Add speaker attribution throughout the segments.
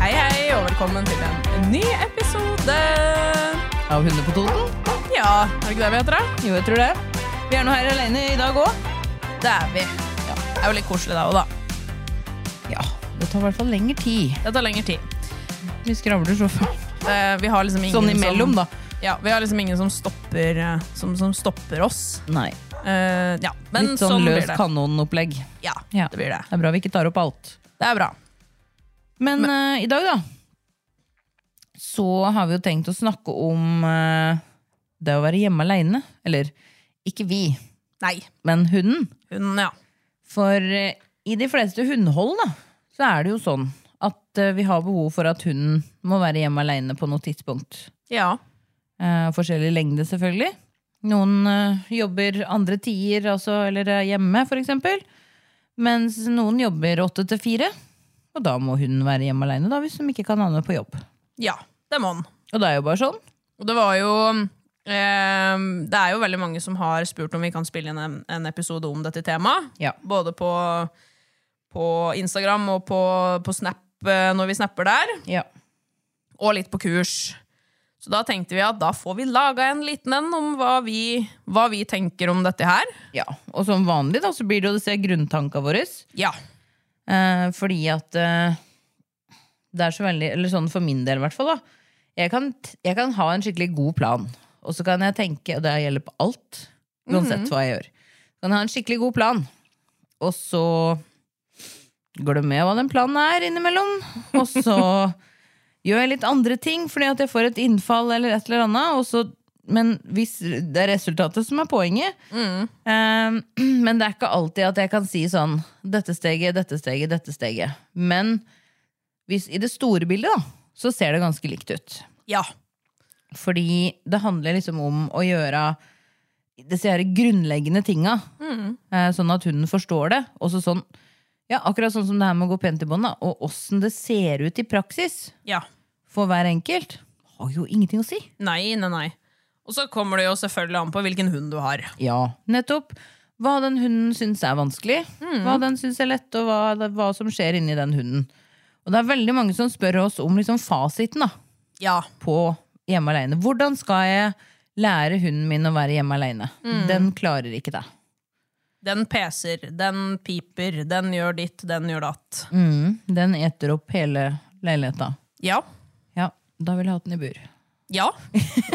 Speaker 1: Hei, hei, og velkommen til en ny episode.
Speaker 2: Av Hundene på Toten?
Speaker 1: Ja, er det ikke det vi heter, da?
Speaker 2: Jo, jeg tror det. Vi er nå her alene i dag òg.
Speaker 1: Det er vi. Ja, det er jo litt koselig, da òg, da.
Speaker 2: Ja, det tar i hvert fall lengre tid.
Speaker 1: Det tar lengre tid.
Speaker 2: Vi skravler så fælt.
Speaker 1: Eh, vi har liksom ingen
Speaker 2: Sånn imellom, da.
Speaker 1: som, Ja, vi har liksom ingen som stopper, eh, som, som stopper oss.
Speaker 2: Nei.
Speaker 1: Eh, ja, men
Speaker 2: Litt sånn,
Speaker 1: blir
Speaker 2: løs
Speaker 1: det.
Speaker 2: kanonopplegg.
Speaker 1: Ja,
Speaker 2: Ja.
Speaker 1: det blir det.
Speaker 2: Det er bra vi ikke tar opp alt.
Speaker 1: Det er bra.
Speaker 2: Men, eh, i dag, da, så har vi jo tenkt å snakke om eh, det å være hjemme aleine. Eller ikke vi,
Speaker 1: Nei,
Speaker 2: men hunden.
Speaker 1: hun, ja.
Speaker 2: For eh, i de fleste hundehold da, så er det jo sånn at eh, vi har behov for at hunden må være hjemme aleine på noe tidspunkt.
Speaker 1: Ja.
Speaker 2: Eh, forskjellig lengde, selvfølgelig. Noen eh, jobber andre tider, altså, eller er hjemme, f.eks. Mens noen jobber åtte til fire. Og da må hunden være hjemme aleine hvis de ikke kan ha henne på jobb.
Speaker 1: ja, det må han.
Speaker 2: Og det er jo bare sånn.
Speaker 1: Og det var jo eh, Det er jo veldig mange som har spurt om vi kan spille inn en, en episode om dette temaet.
Speaker 2: Ja.
Speaker 1: Både på, på Instagram og på, på Snap eh, når vi snapper der.
Speaker 2: Ja.
Speaker 1: Og litt på kurs. Så da tenkte vi at da får vi laga en liten en om hva vi, hva vi tenker om dette her.
Speaker 2: ja. Og som vanlig da, så blir det jo disse grunntanka våre.
Speaker 1: Ja.
Speaker 2: Eh, fordi at eh, det er så veldig Eller sånn for min del, i hvert fall. da jeg kan, t- jeg kan ha en skikkelig god plan, og så kan jeg tenke Og det gjelder på alt, uansett hva jeg gjør. Kan ha en skikkelig god plan, og så glemmer jeg hva den planen er innimellom. Og så gjør jeg litt andre ting fordi at jeg får et innfall eller et eller annet. Og så, men hvis det er resultatet som er poenget. Eh, men det er ikke alltid at jeg kan si sånn dette steget, dette steget, dette steget. Men hvis, i det store bildet, da, så ser det ganske likt ut.
Speaker 1: Ja.
Speaker 2: Fordi det handler liksom om å gjøre disse her grunnleggende tinga, eh, sånn at hunden forstår det. Og så sånn, ja, akkurat sånn som det her med å gå pent i bånd, da, og åssen det ser ut i praksis
Speaker 1: ja.
Speaker 2: for hver enkelt, har jo ingenting å si.
Speaker 1: Nei, nei, nei. Og så kommer det jo selvfølgelig an på hvilken hund du har.
Speaker 2: Ja, nettopp. Hva den hunden syns er vanskelig, hva den syns er lett, og hva, hva som skjer inni den hunden. Og det er veldig mange som spør oss om liksom fasiten da,
Speaker 1: Ja.
Speaker 2: på hjemme alene. Hvordan skal jeg lære hunden min å være hjemme alene? Den klarer ikke det.
Speaker 1: Den peser, den piper, den gjør ditt, den gjør datt.
Speaker 2: Mm. Den eter opp hele leiligheta.
Speaker 1: Ja.
Speaker 2: Ja, da vil jeg hatt den i bur.
Speaker 1: Ja,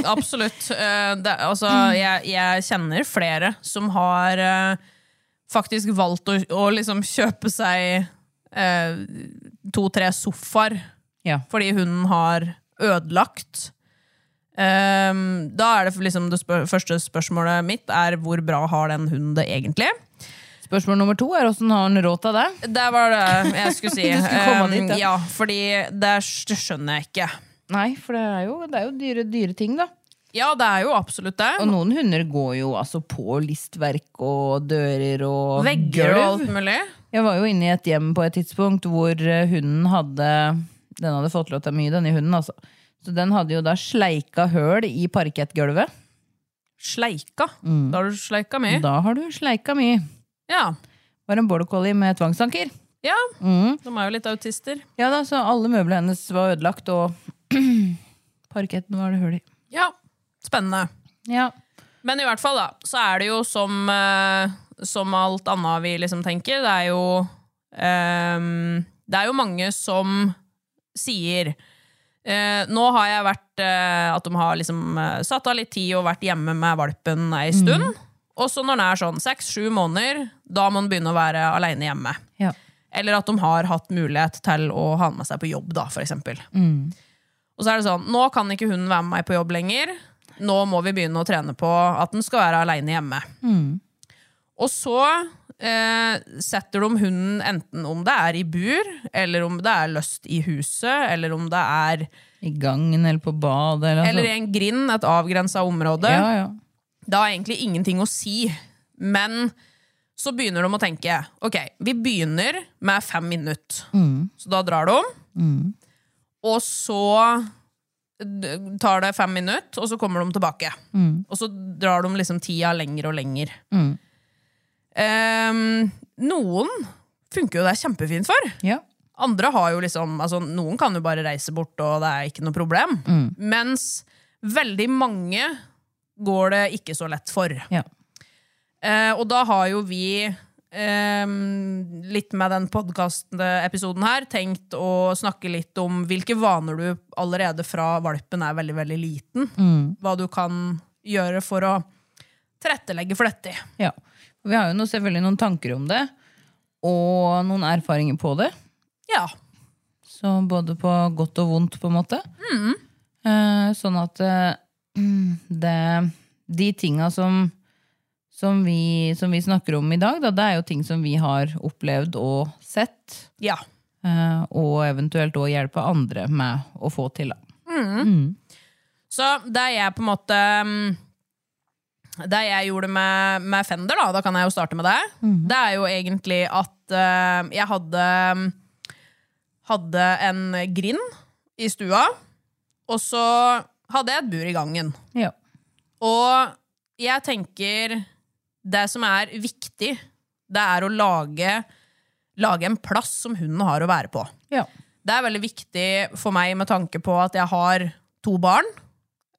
Speaker 1: absolutt. Eh, Det, altså, jeg, jeg kjenner flere som har eh, faktisk valgt å, å liksom kjøpe seg eh, to-tre sofaer
Speaker 2: Ja.
Speaker 1: fordi hunden har ødelagt. Eh, da er det liksom det spør første spørsmålet mitt er hvor bra har den hunden det egentlig?
Speaker 2: Spørsmål nummer to er åssen har han råd til det?
Speaker 1: Det var det jeg skulle si.
Speaker 2: Du skulle komme
Speaker 1: Eh,
Speaker 2: dit, ja.
Speaker 1: ja, fordi det skjønner jeg ikke.
Speaker 2: Nei, for det er jo, det er jo dyre, dyre ting, da.
Speaker 1: Ja, det er jo absolutt det.
Speaker 2: Og noen hunder går jo altså på listverk og dører og
Speaker 1: Vegger og alt mulig.
Speaker 2: Jeg var jo inne i et hjem på et tidspunkt hvor eh, hunden hadde Den hadde fått lov til mye, denne hunden, altså. Så den hadde jo da sleika høl i parkettgulvet.
Speaker 1: Sleika. Da har du sleika mye.
Speaker 2: Da har du sleika mye.
Speaker 1: Ja.
Speaker 2: Var en border collie med tvangstanker.
Speaker 1: ja. De er jo litt autister.
Speaker 2: Ja da, så alle møblene hennes var ødelagt, og parketten var det hull i.
Speaker 1: Ja. Spennende.
Speaker 2: Ja.
Speaker 1: Men i hvert fall, da, så er det jo som, eh, som alt annet vi liksom tenker, det er jo ehm, Det er jo mange som sier eh, Nå har jeg vært eh, At de har liksom eh, satt av litt tid og vært hjemme med valpen ei stund. Og så når den er sånn seks-sju måneder, da må den begynne å være aleine hjemme.
Speaker 2: Ja.
Speaker 1: Eller at de har hatt mulighet til å ha den med seg på jobb, da, for eksempel. Og så er det sånn, nå kan ikke hun være med meg på jobb lenger. Nå må vi begynne å trene på at den skal være aleine hjemme. Og så eh, setter de hunden enten om det er i bur, eller om det er løst i huset, eller om det er
Speaker 2: I gangen eller på badet. Eller,
Speaker 1: Eller i en grind, et avgrensa område.
Speaker 2: Altså- Ja, ja.
Speaker 1: Da er egentlig ingenting å si. Men så begynner de å tenke Ok, vi begynner med fem minutter. Så da drar de. Og så d- tar det fem minutter, og så kommer de tilbake. Og så drar de liksom tida lenger og lenger. Ehm, noen funker jo det kjempefint for.
Speaker 2: ja.
Speaker 1: Andre har jo liksom, altså Noen kan jo bare reise bort, og det er ikke noe problem. Mens veldig mange går det ikke så lett for.
Speaker 2: Ja.
Speaker 1: Eh, og da har jo vi, ehm, litt med den podkastepisoden her, tenkt å snakke litt om hvilke vaner du allerede fra valpen er veldig, veldig liten. Hva du kan gjøre for å tilrettelegge for dette.
Speaker 2: Ja. Vi har jo noe, selvfølgelig noen tanker om det, og noen erfaringer på det.
Speaker 1: Ja.
Speaker 2: Så både på godt og vondt, på en måte. Eh, sånn at eh, det De tinga som, som, vi, som vi snakker om i dag, da, det er jo ting som vi har opplevd og sett.
Speaker 1: Ja.
Speaker 2: eh, og eventuelt òg hjelpe andre med å få til. da.
Speaker 1: Så det jeg på en måte mm, Det jeg gjorde med, med Fender, da, da kan jeg jo starte med det, det er jo egentlig at eh, jeg hadde Hadde en grind i stua, og så hadde jeg et bur i gangen.
Speaker 2: Ja.
Speaker 1: Og jeg tenker Det som er viktig, det er å lage, lage en plass som hunden har å være på.
Speaker 2: Ja.
Speaker 1: Det er veldig viktig for meg med tanke på at jeg har to barn.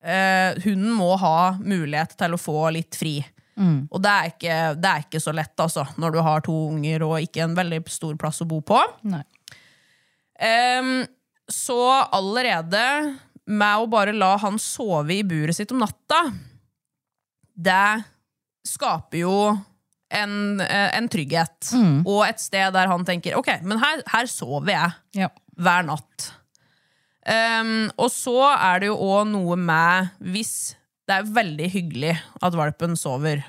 Speaker 1: Eh, hunden må ha mulighet til å få litt fri. Og det er, ikke, det er ikke så lett, altså, når du har to unger og ikke en veldig stor plass å bo på.
Speaker 2: Nei.
Speaker 1: Ehm, så allerede med å bare la han sove i buret sitt om natta, det skaper jo en, eh, en trygghet. Og et sted der han tenker OK, men her, her sover jeg
Speaker 2: Ja.
Speaker 1: hver natt. Ehm, og så er det jo òg noe med hvis det er veldig hyggelig at valpen sover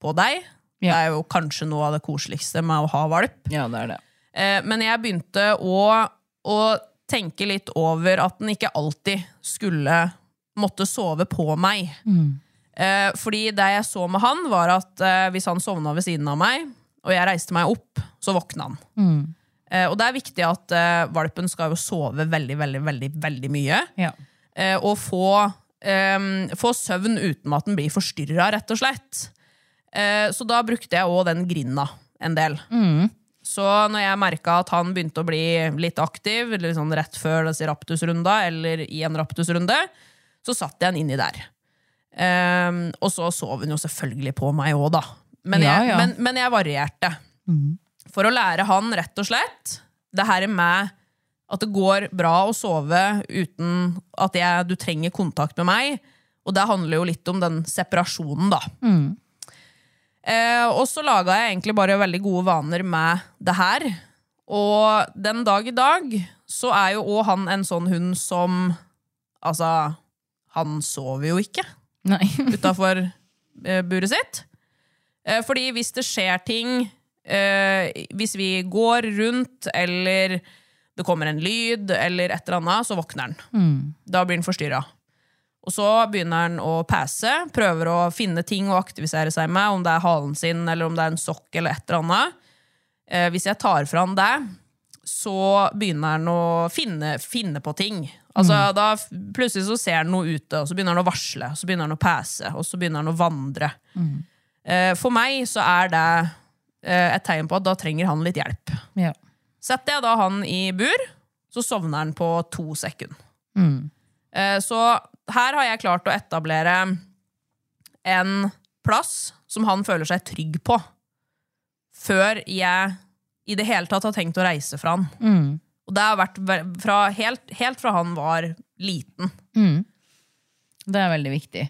Speaker 1: på deg.
Speaker 2: Ja.
Speaker 1: Det er jo kanskje noe av det koseligste med å ha valp.
Speaker 2: ja, det er det.
Speaker 1: Eh, men jeg begynte å, å tenke litt over at den ikke alltid skulle måtte sove på meg. Eh, fordi det jeg så med han, var at eh, hvis han sovna ved siden av meg, og jeg reiste meg opp, så våkna han. Eh, og det er viktig at eh, valpen skal jo sove veldig, veldig, veldig, veldig mye.
Speaker 2: Ja.
Speaker 1: Eh, og få, ehm, få søvn uten at den blir forstyrra, rett og slett. Eh, så da brukte jeg òg den grinda en del.
Speaker 2: Mm.
Speaker 1: Så når jeg merka at han begynte å bli litt aktiv, eller sånn rett før disse raptusrunda, eller i en raptusrunde, så satt jeg han inni der. Ehm, og så sov hun jo selvfølgelig på meg òg, da. Men jeg,
Speaker 2: Ja, ja. Mm.
Speaker 1: Men, men jeg varierte. For å lære han rett og slett det her med at det går bra å sove uten at jeg, du trenger kontakt med meg. Og det handler jo litt om den separasjonen, da. Eh, og så laga jeg egentlig bare veldig gode vaner med det her. Og den dag i dag så er jo òg han en sånn hund som Altså, han sover jo ikke
Speaker 2: Nei.
Speaker 1: utafor buret sitt. Eh, Fordi hvis det skjer ting, eh, hvis vi går rundt, eller det kommer en lyd, eller et eller annet, så våkner han. Da blir han forstyrra. Og så begynner han å passe, prøver å finne ting å aktivisere seg med, om det er halen sin, eller om det er en sokk, eller et eller annet. Eh, Hvis jeg tar fra han det, så begynner han å finne, finne på ting. Altså, da f- plutselig så ser han noe ute, og så begynner han å varsle, og så begynner han å pæse, og så begynner han å vandre. Eh, For meg så er det eh, et tegn på at da trenger han litt hjelp.
Speaker 2: Ja.
Speaker 1: Setter jeg da han i bur, så sovner han på to sekunder. Eh, Så her har jeg klart å etablere en plass som han føler seg trygg på, før jeg i det hele tatt har tenkt å reise fra han. Og det har vært ve- fra, helt, helt fra han var liten.
Speaker 2: Det er veldig viktig.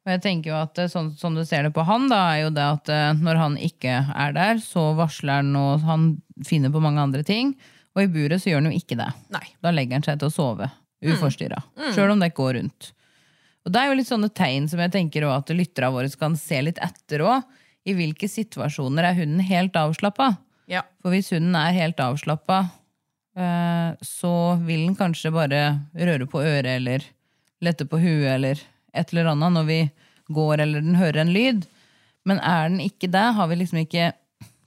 Speaker 2: Og jeg tenker jo at eh, sånn, sånn du ser det på han, da, er jo det at eh, når han ikke er der, så varsler han og han finner på mange andre ting. Og i buret så gjør han jo ikke det.
Speaker 1: Nei.
Speaker 2: Da legger han seg til å sove uforstyrra. Sjøl om det går rundt. Og det er jo litt sånne tegn som jeg tenker også at lytterne våre kan se litt etter òg. I hvilke situasjoner er hunden helt avslappa?
Speaker 1: Ja.
Speaker 2: For hvis hunden er helt avslappa, eh, så vil den kanskje bare røre på øret eller lette på huet eller et eller annet når vi går eller den hører en lyd. Men er den ikke det, har vi liksom ikke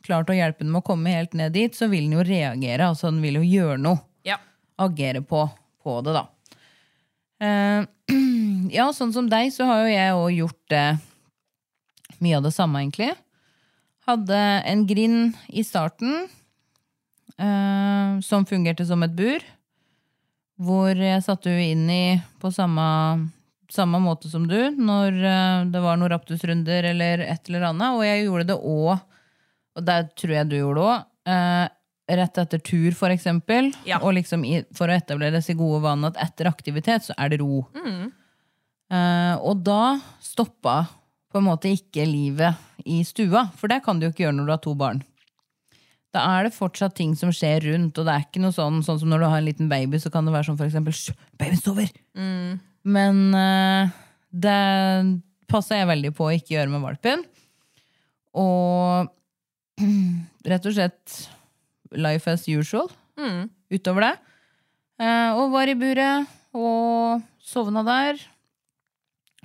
Speaker 2: klart å hjelpe den med å komme helt ned dit, så vil den jo reagere. altså Den vil jo gjøre noe
Speaker 1: ja.
Speaker 2: agere på, på det, da. Eh, ja, sånn som deg, så har jo jeg òg gjort eh, mye av det samme, egentlig. Hadde en grind i starten eh, som fungerte som et bur. Hvor jeg satte henne inn i på samme, samme måte som du når eh, det var noen raptusrunder eller et eller annet. Og jeg gjorde det òg, og det tror jeg du gjorde òg, eh, rett etter tur, for eksempel.
Speaker 1: Ja.
Speaker 2: Og liksom i, for å etablere disse gode vanene at etter aktivitet så er det ro. Eh, og da stoppa på en måte ikke livet i stua, for det kan du jo ikke gjøre når du har to barn. Da er det fortsatt ting som skjer rundt, og det er ikke noe sånn, sånn som når du har en liten baby, så kan det være sånn for eksempel «Hysj, babyen sover! Men eh, det passa jeg veldig på å ikke gjøre med valpen. Og rett og slett life as usual utover det. Eh, og var i buret og sovna der.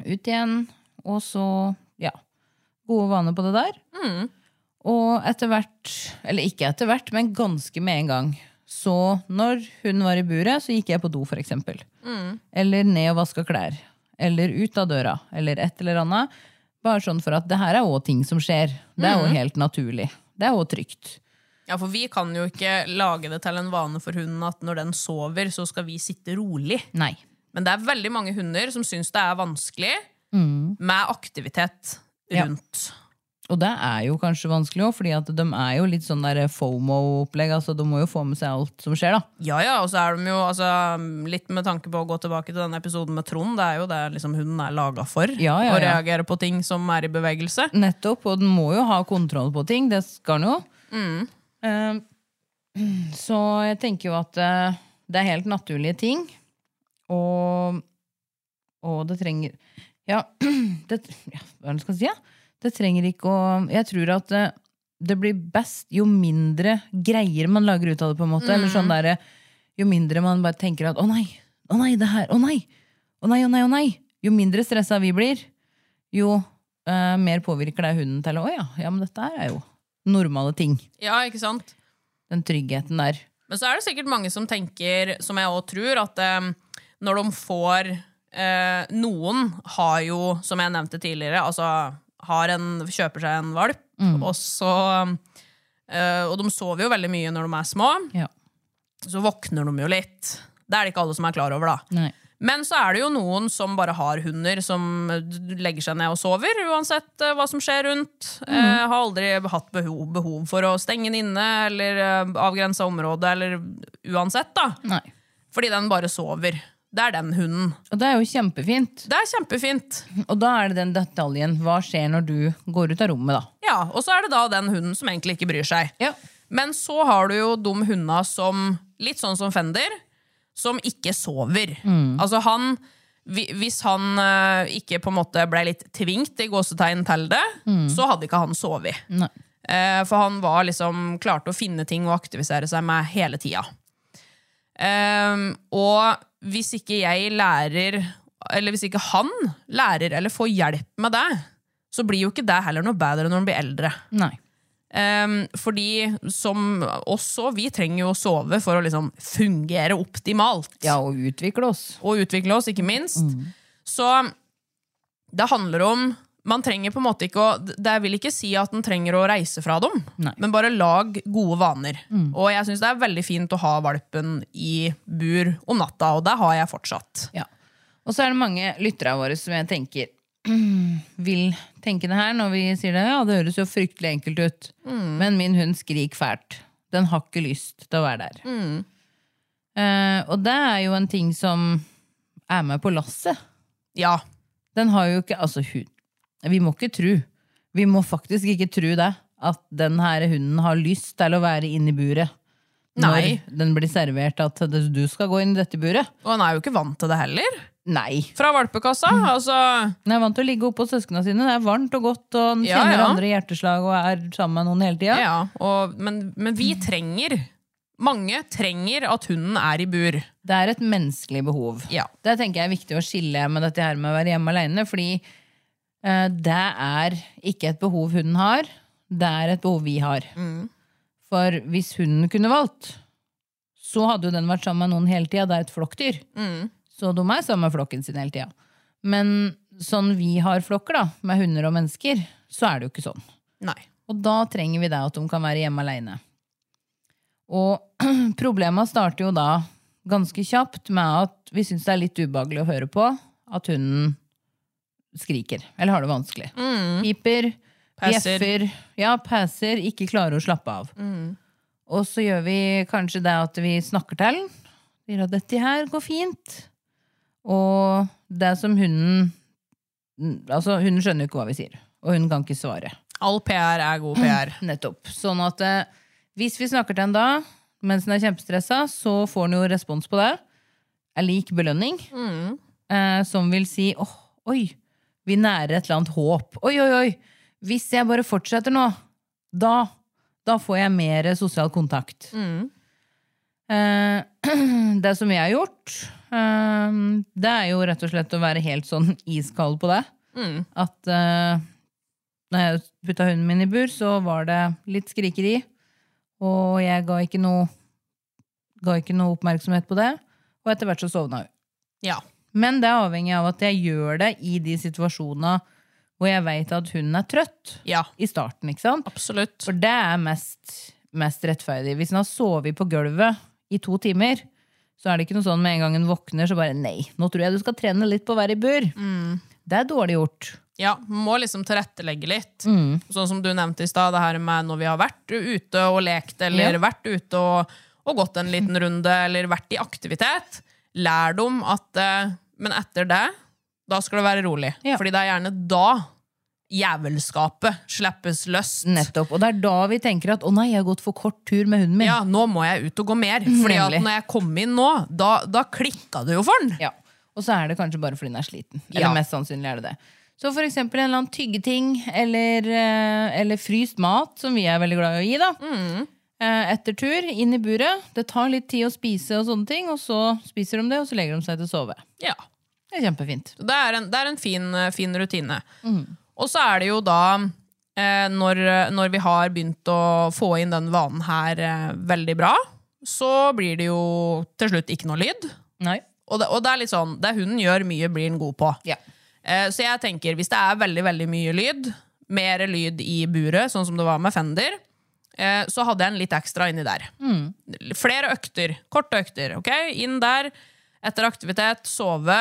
Speaker 2: Ut igjen. Og så, ja. Gode vaner på det der. Og etter hvert, eller ikke etter hvert, men ganske med en gang. Så når hun var i buret, så gikk jeg på do, for eksempel. Eller ned og vaska klær. Eller ut av døra. Eller et eller annet. Bare sånn for at det her er òg ting som skjer. Det er jo helt naturlig. Det er òg trygt.
Speaker 1: Ja, for vi kan jo ikke lage det til en vane for hunden at når den sover, så skal vi sitte rolig.
Speaker 2: Nei.
Speaker 1: Men det er veldig mange hunder som syns det er vanskelig med aktivitet
Speaker 2: Mm. Ja.
Speaker 1: rundt.
Speaker 2: Og det er jo kanskje vanskelig òg, fordi at de er jo litt sånn der FOMO-opplegg. altså De må jo få med seg alt som skjer, da.
Speaker 1: Ja, ja, og så er de jo altså, Litt med tanke på å gå tilbake til denne episoden med Trond, det er jo det liksom, hunden er laga for.
Speaker 2: Ja, ja,
Speaker 1: Å
Speaker 2: ja.
Speaker 1: reagere på ting som er i bevegelse.
Speaker 2: Nettopp, og den må jo ha kontroll på ting. Det skal den jo. Eh, så jeg tenker jo at eh, det er helt naturlige ting. Og, og det trenger Ja, det, ja hva er det jeg skal si? Ja? Det trenger ikke å Jeg tror at eh, det blir best jo mindre greier man lager ut av det, på en måte. Eller sånn der, jo mindre man bare tenker at 'å nei, å nei, det her, å nei'. Å nei, å nei, å nei. Jo mindre stressa vi blir, jo eh, mer påvirker det hunden til å ja, ja, men dette her er jo normale ting.
Speaker 1: Ja, ikke sant?
Speaker 2: Den tryggheten der.
Speaker 1: Men så er det sikkert mange som tenker, som jeg òg tror, at eh, når de får eh, Noen har jo, som jeg nevnte tidligere, altså har en, kjøper seg en valp,
Speaker 2: Mm.
Speaker 1: og så eh, Og de sover jo veldig mye når de er små,
Speaker 2: Ja.
Speaker 1: så våkner de jo litt. Det er det ikke alle som er klar over, da.
Speaker 2: Nei.
Speaker 1: Men så er det jo noen som bare har hunder, som eh, legger seg ned og sover, uansett eh, hva som skjer rundt.
Speaker 2: Mm.
Speaker 1: Eh, har aldri hatt behov, behov for å stenge den inne, eller eh, avgrensa området, eller uansett, da.
Speaker 2: Nei.
Speaker 1: Fordi den bare sover. Det er den hunden.
Speaker 2: Og det er jo kjempefint.
Speaker 1: Det er kjempefint.
Speaker 2: Og da er det den detaljen. Hva skjer når du går ut av rommet, da?
Speaker 1: Ja, Og så er det da den hunden som egentlig ikke bryr seg.
Speaker 2: Ja.
Speaker 1: Men så har du jo de hundene som, litt sånn som Fender, som ikke sover.
Speaker 2: Mm.
Speaker 1: Altså han, hvi- hvis han eh, ikke på en måte ble litt tvingt i gåsetegn til det, så hadde ikke han sovet.
Speaker 2: Mm. Nei.
Speaker 1: Eh, for han var liksom klarte å finne ting å aktivisere seg med hele tida. Ehm, og hvis ikke jeg lærer, eller hvis ikke han lærer eller får hjelp med det, så blir jo ikke det heller noe bedre når han blir eldre.
Speaker 2: Nei.
Speaker 1: Ehm, fordi som også, vi trenger jo å sove for å liksom fungere optimalt.
Speaker 2: Ja, Mm. og utvikle oss.
Speaker 1: Og utvikle oss, ikke minst. Så det handler om Man trenger på en måte ikke å Det vil ikke si at en trenger å reise fra dem,
Speaker 2: Nei. Mm.
Speaker 1: men bare lag gode vaner. Og jeg syns det er veldig fint å ha valpen i bur om natta, og det har jeg fortsatt.
Speaker 2: Ja. Og så er det mange lyttere våre som jeg tenker vil tenke det her når vi sier det. Ja, det høres jo fryktelig enkelt ut. Men min hund skriker fælt. Den har ikke lyst til å være der. Eh, og det er jo en ting som er med på lasset.
Speaker 1: Ja.
Speaker 2: Den har jo ikke Altså, hun Vi må ikke tro. Vi må faktisk ikke tro det. At den her hunden har lyst til å være inne i buret.
Speaker 1: Nei.
Speaker 2: Når den blir servert at det- du skal gå inn i dette buret.
Speaker 1: Og han er jo ikke vant til det heller.
Speaker 2: Nei.
Speaker 1: Fra valpekassa.
Speaker 2: Mm.
Speaker 1: Altså,
Speaker 2: Den er vant til å ligge oppå søsknene sine. Det er varmt og godt, og den
Speaker 1: Ja,
Speaker 2: kjenner
Speaker 1: ja.
Speaker 2: andre hjerteslag og er sammen med noen hele tida.
Speaker 1: ja. og, men, men vi trenger Mange trenger at hunden er i bur.
Speaker 2: Det er et menneskelig behov.
Speaker 1: Ja.
Speaker 2: Det tenker jeg er viktig å skille med dette her med å være hjemme alene, fordi eh, det er ikke et behov hunden har, det er et behov vi har.
Speaker 1: Mm.
Speaker 2: For hvis hunden kunne valgt, så hadde jo den vært sammen med noen hele tida. Det er et flokkdyr.
Speaker 1: Mm.
Speaker 2: Så de er sammen med flokken sin hele tida. Men sånn vi har flokker, da, med hunder og mennesker, så er det jo ikke sånn.
Speaker 1: Nei.
Speaker 2: Og da trenger vi det at de kan være hjemme alene. Og problema starter jo da ganske kjapt med at vi syns det er litt ubehagelig å høre på at hunden skriker. Eller har det vanskelig. Piper,
Speaker 1: Passer.
Speaker 2: bjeffer, ja, passer, ikke klarer å slappe av. Og så gjør vi kanskje det at vi snakker til den. Sier at 'dette her går fint'. Og det som hunden Altså, hunden skjønner jo ikke hva vi sier. Og hun kan ikke svare.
Speaker 1: All PR er god PR.
Speaker 2: Nettopp. Sånn at eh, hvis vi snakker til en da, mens den er kjempestressa, så får den jo respons på det. Er lik belønning. Eh, som vil si åh, oi, vi nærer et eller annet håp. Oi, oi, oi. Hvis jeg bare fortsetter nå, da, da får jeg mer sosial kontakt. Eh, det som jeg har gjort, eh, det er jo rett og slett å være helt sånn iskald på det. At eh, når jeg putta hunden min i bur, så var det litt skrikeri. Og jeg ga ikke noe, ga ikke noe oppmerksomhet på det. Og etter hvert så sovna hun.
Speaker 1: Ja.
Speaker 2: Men det er avhengig av at jeg gjør det i de situasjonene hvor jeg veit at hunden er trøtt.
Speaker 1: Ja,
Speaker 2: I starten, ikke sant?
Speaker 1: absolutt.
Speaker 2: For det er mest, mest rettferdig. Hvis den har sovet på gulvet i to timer, så er det ikke noe sånn med en gang den våkner, så bare nei, nå tror jeg du skal trene litt på å være i bur. Det er dårlig gjort.
Speaker 1: Ja, Må liksom tilrettelegge litt. Sånn som du nevnte i stad, det her med når vi har vært ute og lekt, eller
Speaker 2: Ja.
Speaker 1: vært ute og, og gått en liten runde, eller vært i aktivitet. Lær dem at eh, Men etter det, da skal det være rolig.
Speaker 2: Ja.
Speaker 1: Fordi det er gjerne da jævelskapet slippes løs.
Speaker 2: Nettopp. Og det er da vi tenker at å nei, jeg har gått for kort tur med hunden min.
Speaker 1: Ja, nå må jeg ut og gå mer. Fordi at
Speaker 2: Nemlig.
Speaker 1: når jeg kom inn nå, da, da klikka det jo for den.
Speaker 2: Ja. Og så er det kanskje bare fordi den er sliten.
Speaker 1: Ja.
Speaker 2: Eller mest sannsynlig er det det. Så for eksempel en eller annen tyggeting eller, eh, eller fryst mat, som vi er veldig glad i å gi, da. Eh, Etter tur, inn i buret. Det tar litt tid å spise, og sånne ting, og så spiser de det, og så legger de seg til å sove.
Speaker 1: Ja.
Speaker 2: Det er kjempefint.
Speaker 1: Det er en, det er en fin, eh, fin rutine.
Speaker 2: Mm.
Speaker 1: Og så er det jo da eh, når, når vi har begynt å få inn den vanen her eh, veldig bra, så blir det jo til slutt ikke noe lyd.
Speaker 2: Nei.
Speaker 1: Og det, og det er litt sånn, det hunden gjør mye, blir den god på.
Speaker 2: Ja.
Speaker 1: Eh, så jeg tenker, hvis det er veldig, veldig mye lyd, mer lyd i buret, sånn som det var med Fender, eh, så hadde jeg en litt ekstra inni der.
Speaker 2: Mm.
Speaker 1: Flere økter, korte økter, ok? Inn der, etter aktivitet, sove,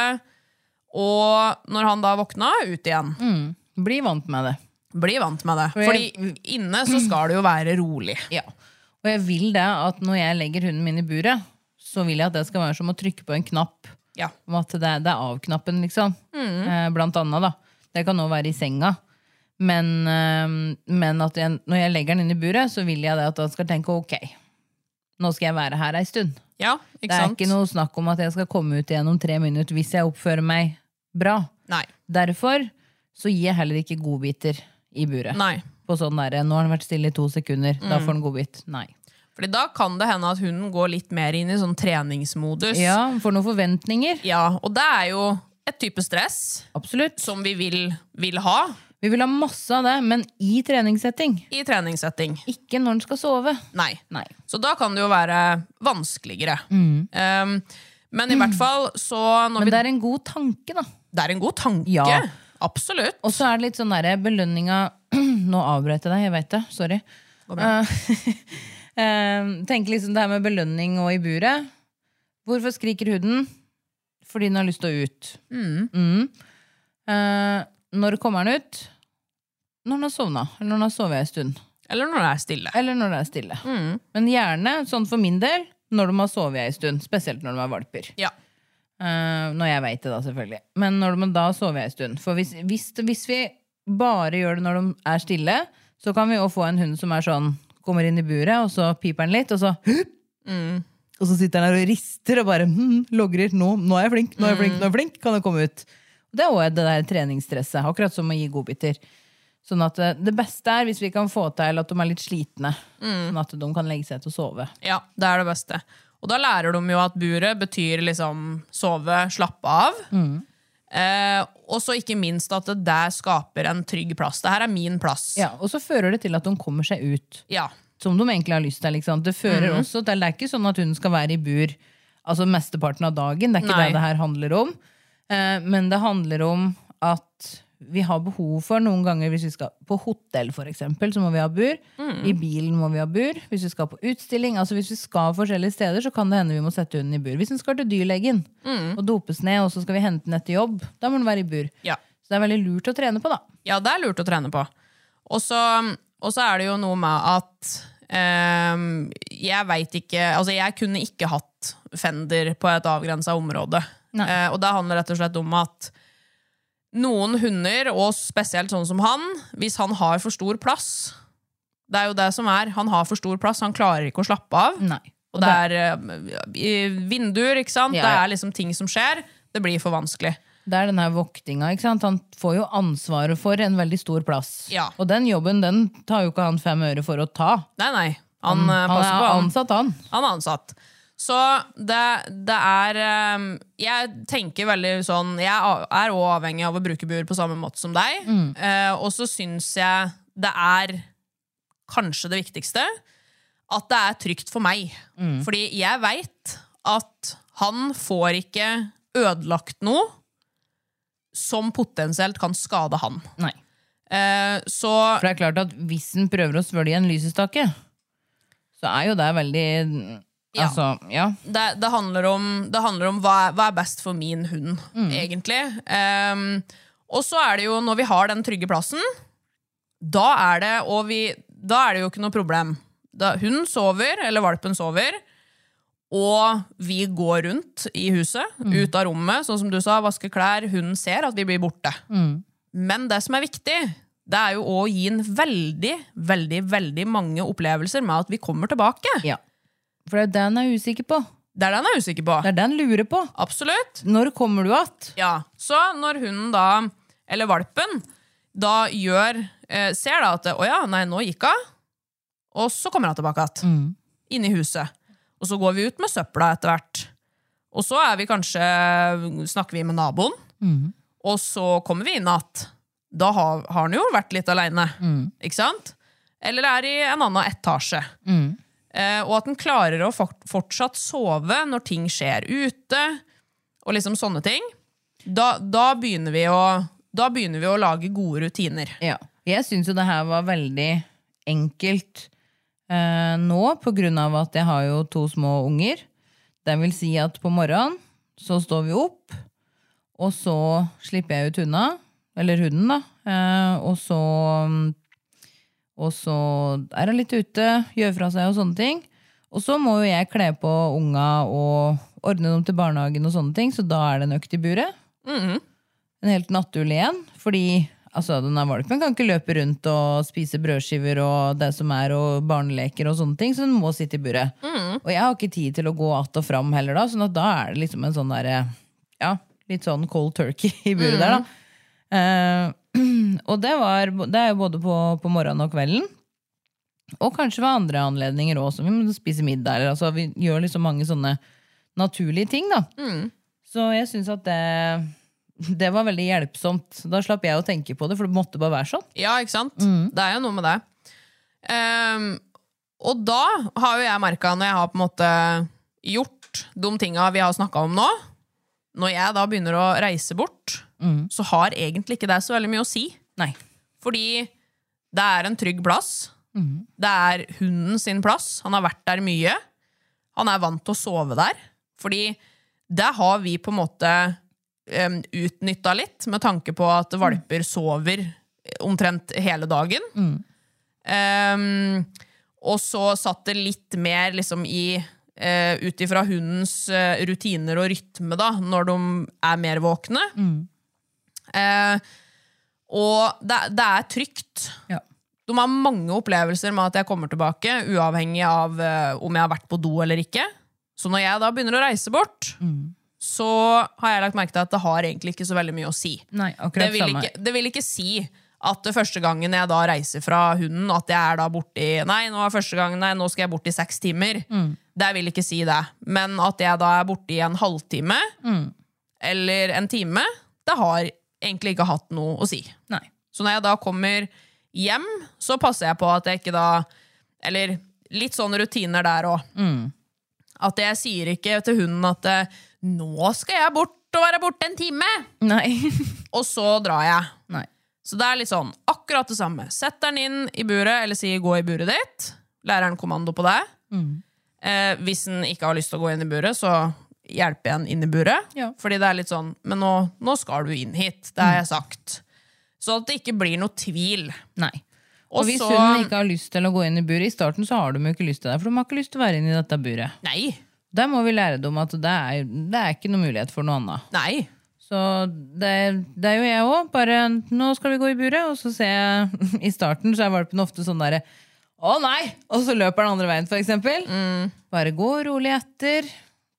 Speaker 1: og når han da våkna, ut igjen.
Speaker 2: Mm. Bli vant med det.
Speaker 1: Bli vant med det.
Speaker 2: For jeg-
Speaker 1: Fordi inne så skal det jo være rolig.
Speaker 2: Ja. Og jeg vil det at når jeg legger hunden min i buret, så vil jeg at det skal være som å trykke på en knapp.
Speaker 1: Ja.
Speaker 2: Om at det er, det er av-knappen, liksom.
Speaker 1: Mm.
Speaker 2: Eh, blant annet, da. Det kan nå være i senga. Men, eh, men at jeg, når jeg legger den inn i buret, så vil jeg det at han skal tenke ok, nå skal jeg være her ei stund.
Speaker 1: Ja, ikke
Speaker 2: Det er
Speaker 1: sant?
Speaker 2: ikke noe snakk om at jeg skal komme ut igjen om tre minutter hvis jeg oppfører meg bra.
Speaker 1: Nei,
Speaker 2: Derfor så gir jeg heller ikke godbiter i buret.
Speaker 1: nei. Mm.
Speaker 2: På sånn derre, nå har han vært stille i to sekunder, da får han godbit. Nei.
Speaker 1: Fordi da kan det hende at hunden går litt mer inn i sånn treningsmodus.
Speaker 2: Ja, for noen forventninger.
Speaker 1: Ja, og det er jo et type stress
Speaker 2: Absolutt.
Speaker 1: som vi vil, vil ha
Speaker 2: Vi vil ha masse av det, men i treningssetting.
Speaker 1: i treningssetting.
Speaker 2: Ikke når den skal sove.
Speaker 1: Nei.
Speaker 2: Nei.
Speaker 1: Så da kan det jo være vanskeligere. Um, men i hvert fall så når
Speaker 2: Men
Speaker 1: vi,
Speaker 2: det er en god tanke, da.
Speaker 1: det er en god tanke.
Speaker 2: Ja.
Speaker 1: Absolutt.
Speaker 2: Og så er det litt sånn derre belønninga Nå avbrøt jeg deg, jeg veit det. Sorry. Eh, eh, Tenk liksom det her med belønning og i buret. Hvorfor skriker huden? Fordi den har lyst til å ut. Mm. Eh, når kommer den ut? Når den har sovna. Eller når den har sovet en stund.
Speaker 1: Eller når det er stille.
Speaker 2: Eller når det er stille.
Speaker 1: Mm.
Speaker 2: Men gjerne, sånn for min del, når de har sovet ei stund. Spesielt når de er valper.
Speaker 1: Ja.
Speaker 2: Eh, når jeg veit det, da, selvfølgelig. Men når de, da sover jeg en stund. For hvis, hvis, hvis vi bare gjør det når de er stille, så kan vi jo få en hund som er sånn kommer inn i buret, og så piper den litt, og så Og så sitter han her og rister og bare hm, logrer. Nå, 'Nå er jeg flink, nå er jeg flink, nå er jeg flink.' Kan jeg komme ut? Og Det er òg det der treningsstresset. Akkurat som å gi godbiter. Sånn at eh, Det beste er hvis vi kan få til at de er litt slitne, sånn at de kan legge seg til å sove.
Speaker 1: Ja, det er det beste. Og da lærer de jo at buret betyr liksom sove, slappe av. Eh, og så ikke minst at det der skaper en trygg plass. Det her er min plass.
Speaker 2: Ja, Og så fører det til at de kommer seg ut,
Speaker 1: Ja.
Speaker 2: som de egentlig har lyst til. Ikke sant? Det fører
Speaker 1: Mhm.
Speaker 2: også til, det er ikke sånn at hun skal være i bur altså mesteparten av dagen. Det er ikke
Speaker 1: Nei.
Speaker 2: det det her handler om. Eh, men det handler om at vi har behov for noen ganger hvis vi skal på hotell, for eksempel, så må vi ha bur.
Speaker 1: Mm.
Speaker 2: I bilen må vi ha bur. Hvis vi skal på utstilling, altså hvis vi skal forskjellige steder, så kan det hende vi må sette hunden i bur. Hvis den skal til dyrlegen og dopes ned, og så skal vi hente den etter jobb, da må den være i bur.
Speaker 1: Mm. Ja.
Speaker 2: Så det er veldig lurt å trene på, da.
Speaker 1: Ja, det er lurt å trene på. Og så og så er det jo noe med at ehm, jeg veit ikke Altså, jeg kunne ikke hatt Fender på et avgrensa område.
Speaker 2: Nei.
Speaker 1: Eh, og det handler rett og slett om at noen hunder, og spesielt sånn som han, hvis han har for stor plass Det er jo det som er. Han har for stor plass, han klarer ikke å slappe av.
Speaker 2: Nei.
Speaker 1: Og det er eh, vinduer, ikke sant.
Speaker 2: Ja,
Speaker 1: Det
Speaker 2: ja.
Speaker 1: er liksom ting som skjer. Det blir for vanskelig.
Speaker 2: Det er den her voktinga. ikke sant? Han får jo ansvaret for en veldig stor plass.
Speaker 1: Ja.
Speaker 2: Og den jobben den tar jo ikke han fem øre for å ta.
Speaker 1: Nei, nei. Han, eh,
Speaker 2: Han
Speaker 1: passer
Speaker 2: er
Speaker 1: på. Han,
Speaker 2: ansatt, han.
Speaker 1: Han er ansatt. Så det, det er ehm, Jeg tenker veldig sånn Jeg a- er òg avhengig av å bruke bur på samme måte som deg. Eh, og så syns jeg det er kanskje det viktigste at det er trygt for meg. Fordi jeg veit at han får ikke ødelagt noe som potensielt kan skade han.
Speaker 2: Nei.
Speaker 1: Eh, så
Speaker 2: For det er klart at hvis han prøver å svølge en lysestake, så er jo det veldig
Speaker 1: Ja.
Speaker 2: Altså, ja.
Speaker 1: det, det handler om, det handler om hva, er- hva er best for min hund,
Speaker 2: Mm.
Speaker 1: egentlig. Ehm, og så er det jo, når vi har den trygge plassen, da er det, og vi, da er det jo ikke noe problem. Da, hun sover, eller valpen sover, og vi går rundt i huset,
Speaker 2: Mm.
Speaker 1: ut av rommet, sånn som du sa, vaske klær, hunden ser at vi blir borte.
Speaker 2: Mm.
Speaker 1: Men det som er viktig, det er jo å gi en veldig, veldig, veldig mange opplevelser med at vi kommer tilbake.
Speaker 2: ja. For det er jo det han er usikker på.
Speaker 1: Det er det han er usikker på.
Speaker 2: Det er det han lurer på.
Speaker 1: Absolutt.
Speaker 2: Når kommer du att?
Speaker 1: Ja, så når hunden da, eller valpen, da gjør, eh, ser da at, åja, nei, nå gikk hun, og så kommer han tilbake igjen, inn i huset. Og så går vi ut med søpla etter hvert. Og så er vi kanskje, snakker vi med naboen, og så kommer vi inn igjen. Da har, har han jo vært litt alene, ikke sant? Eller er i en annen etasje. Eh, og at den klarer å fort- fortsatt sove når ting skjer ute, og liksom sånne ting, da, da, begynner vi å, da begynner vi å lage gode rutiner.
Speaker 2: Ja. Jeg syns jo det her var veldig enkelt eh, nå, på grunn av at jeg har jo to små unger. Det vil si at på morgenen så står vi opp, og så slipper jeg ut hundene, eller hunden, da. Eh, og så Og så er hun litt ute, gjør fra seg og sånne ting. Og så må jo jeg kle på unga og ordne dem til barnehagen, og sånne ting, så da er det en økt i buret en helt naturlig en. Fordi altså, denne valpen kan ikke løpe rundt og spise brødskiver og det som er, og barneleker og sånne ting, så den må sitte i buret. Og jeg har ikke tid til å gå att og fram heller, da, sånn at da er det liksom en sånn derre Ja, litt sånn cold turkey i buret der, da. Eh, og det, var, det er jo både på, på morgenen og kvelden. Og kanskje ved andre anledninger òg, som vi må spise middag. Eller, altså, vi gjør liksom mange sånne naturlige ting. da. Så jeg syns at det, det var veldig hjelpsomt. Da slapp jeg å tenke på det, for det måtte bare være sånn.
Speaker 1: Ja, ikke sant? Det er jo noe med det. Ehm, og da har jo jeg merka, når jeg har på en måte gjort de tinga vi har snakka om nå Når jeg da begynner å reise bort, så har egentlig ikke det så veldig mye å si.
Speaker 2: Nei.
Speaker 1: Fordi det er en trygg plass. Det er hunden sin plass. Han har vært der mye. Han er vant til å sove der. Fordi det har vi på en måte um, utnytta litt, med tanke på at valper sover omtrent hele dagen. Em, og så satt det litt mer liksom i eh, ut ifra hundens eh, rutiner og rytme da, når de er mer våkne. Eh, og det, det er trygt.
Speaker 2: Ja.
Speaker 1: De har mange opplevelser med at jeg kommer tilbake, uavhengig av eh, om jeg har vært på do eller ikke. Så når jeg da begynner å reise bort,
Speaker 2: Mm.
Speaker 1: så har jeg lagt merke til at det har egentlig ikke så veldig mye å si.
Speaker 2: Nei,
Speaker 1: Det
Speaker 2: akkurat
Speaker 1: vil,
Speaker 2: samme.
Speaker 1: ikke, det vil ikke si at det første gangen jeg da reiser fra hunden, at jeg er da borti Nei, nå er første gangen, nei, nå skal jeg bort i seks timer.
Speaker 2: Mm.
Speaker 1: Det vil ikke si det. Men at jeg da er borti en halvtime
Speaker 2: Mm.
Speaker 1: eller en time, det har egentlig ikke hatt noe å si.
Speaker 2: Nei.
Speaker 1: Så når jeg da kommer hjem, så passer jeg på at jeg ikke da Eller litt sånne rutiner der òg. At jeg sier ikke til hunden at eh, 'nå skal jeg bort og være borte en time',
Speaker 2: Nei.
Speaker 1: og så drar jeg.
Speaker 2: Nei.
Speaker 1: Så det er litt sånn akkurat det samme. Sett den inn i buret, eller si 'gå i buret ditt'. Lærer den kommando på deg. Eh, hvis den ikke har lyst til å gå inn i buret, så hjelper jeg den inn i buret.
Speaker 2: Ja.
Speaker 1: Fordi det er litt sånn 'men nå, nå skal du inn hit'. Det har jeg sagt. Så at det ikke blir noe tvil.
Speaker 2: Nei. Og,
Speaker 1: Og
Speaker 2: hvis
Speaker 1: så-
Speaker 2: hunden ikke har lyst til å gå inn i buret i starten, så har de jo ikke lyst til det. For de har ikke lyst til å være inne i dette buret.
Speaker 1: Nei.
Speaker 2: Der må vi lære dem at det er, det er ikke noe mulighet for noe annet.
Speaker 1: Nei.
Speaker 2: Så det, det er jo jeg òg. Bare nå skal vi gå i buret, og så ser jeg I starten så er valpen ofte sånn derre Å nei! Og så løper den andre veien, for eksempel. Bare gå rolig etter.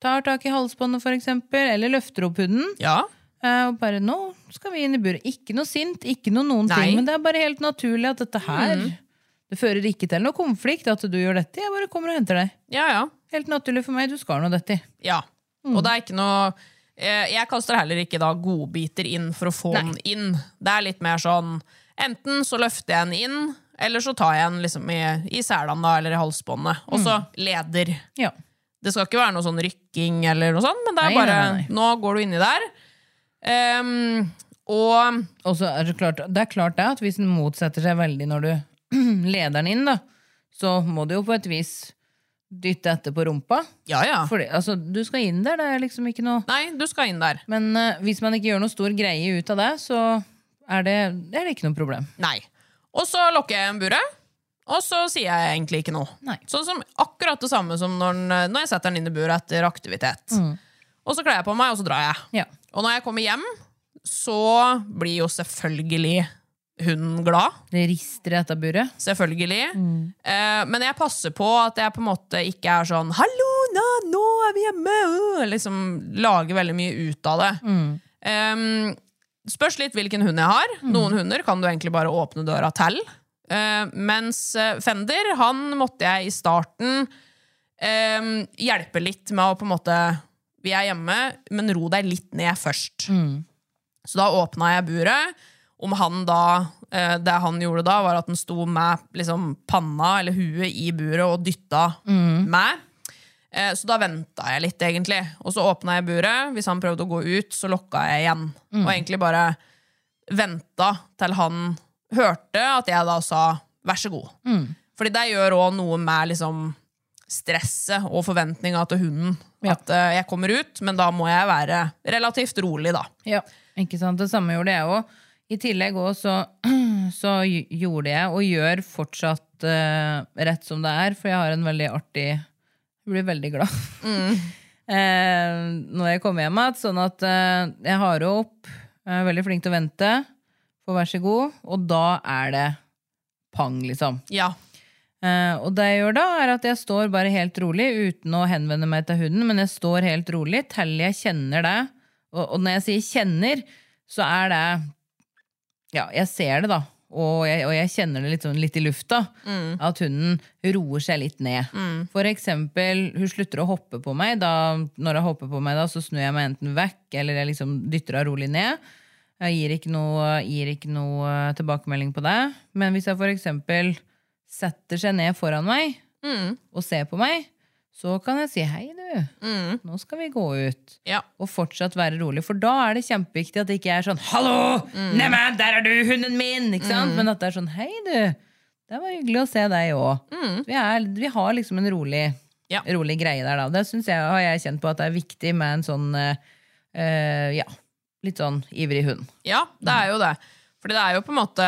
Speaker 2: Tar tak i halsbåndet, for eksempel. Eller løfter opp hunden.
Speaker 1: Ja.
Speaker 2: Eh, Og bare nå skal vi inn i buret. Ikke noe sint, ikke noe noen
Speaker 1: Nei.
Speaker 2: ting. Men det er bare helt naturlig at dette her Det fører ikke til noe konflikt at du gjør dette. Jeg bare kommer og henter deg.
Speaker 1: Ja, ja.
Speaker 2: Helt naturlig for meg. Du skal nå dette.
Speaker 1: Ja.
Speaker 2: Mm.
Speaker 1: Og det er ikke noe eh, Jeg kaster heller ikke da godbiter inn for å få
Speaker 2: Nei.
Speaker 1: den inn. Det er litt mer sånn Enten så løfter jeg den inn, eller så tar jeg den liksom i, i selene da, eller i halsbåndet.
Speaker 2: Mm.
Speaker 1: Og så leder.
Speaker 2: Ja.
Speaker 1: Det skal ikke være noe sånn rykking, eller noe sånt, men det er
Speaker 2: Nei,
Speaker 1: bare
Speaker 2: nei, nei.
Speaker 1: Nå går du inni der. Ehm, og
Speaker 2: Og så er det klart det er klart det at hvis den motsetter seg veldig når du leder den inn, da, så må du jo på et vis dytte etter på rumpa.
Speaker 1: Ja, ja.
Speaker 2: For det, altså, du skal inn der, det er liksom ikke noe
Speaker 1: Nei, du skal inn der.
Speaker 2: Men eh, hvis man ikke gjør noe stor greie ut av det, så er det, det er det ikke noe problem.
Speaker 1: Nei. Og så lukker jeg igjen buret, og så sier jeg egentlig ikke noe.
Speaker 2: Nei.
Speaker 1: Sånn som Akkurat det samme som når, den, når jeg setter den inn i buret etter aktivitet. Og så kler jeg på meg, og så drar jeg.
Speaker 2: Mm. Ja.
Speaker 1: Og når jeg kommer hjem, så blir jo selvfølgelig hunden glad.
Speaker 2: Det rister i dette buret.
Speaker 1: Selvfølgelig. Eh, men jeg passer på at jeg på en måte ikke er sånn 'Hallo, nå, nå er vi hjemme!' øh», Liksom Lager veldig mye ut av det. Eh, spørs litt hvilken hund jeg har. Noen hunder kan du egentlig bare åpne døra til. Eh, mens eh, Fender, han måtte jeg i starten eh, hjelpe litt med å på en måte Vi er hjemme, men ro deg litt ned først. Så da åpna jeg buret. Om han da eh, Det han gjorde da, var at han sto med liksom, panna eller huet i buret og dytta meg. Eh, Så da venta jeg litt, egentlig. Og så åpna jeg buret. Hvis han prøvde å gå ut, så lokka jeg igjen. Og egentlig bare venta til han hørte at jeg da sa vær så god. Fordi det gjør òg noe med liksom stresset og forventninga til hunden.
Speaker 2: Ja.
Speaker 1: At eh, jeg kommer ut, men da må jeg være relativt rolig, da.
Speaker 2: Ja, ikke sant? Det samme gjorde jeg òg. I tillegg òg så, så gj- gjorde jeg, og gjør fortsatt eh, rett som det er, for jeg har en veldig artig Jeg blir veldig glad eh, når jeg kommer hjem igjen. Sånn at eh, jeg har henne opp, jeg er veldig flink til å vente, får vær så god, og da er det pang, liksom.
Speaker 1: Ja.
Speaker 2: Eh, og det jeg gjør da, er at jeg står bare helt rolig uten å henvende meg til hunden, men jeg står helt rolig til jeg kjenner det. Og, og når jeg sier kjenner, så er det Ja, jeg ser det, da. Og jeg, og jeg kjenner det litt, sånn, litt i lufta. At hunden roer seg litt ned. For eksempel, hun slutter å hoppe på meg. Da, når hun hopper på meg, da, så snur jeg meg enten vekk eller jeg liksom dytter henne rolig ned. Jeg gir ikke noe, gir ikke noe eh, tilbakemelding på det. Men hvis jeg for eksempel setter seg ned foran meg og ser på meg, så kan jeg si 'hei, du, nå skal vi gå ut'.
Speaker 1: Ja.
Speaker 2: Og fortsatt være rolig, for da er det kjempeviktig at det ikke er sånn 'hallo, neimen, der er du, hunden min', ikke sant? men at det er sånn 'hei, du, det var hyggelig å se deg òg'. Vi, er- vi har liksom en rolig,
Speaker 1: Ja.
Speaker 2: rolig greie der, da. Det synes jeg har jeg kjent på at det er viktig med en sånn eh, eh, ja, litt sånn ivrig hund.
Speaker 1: Ja, det er jo det. Fordi det er jo på en måte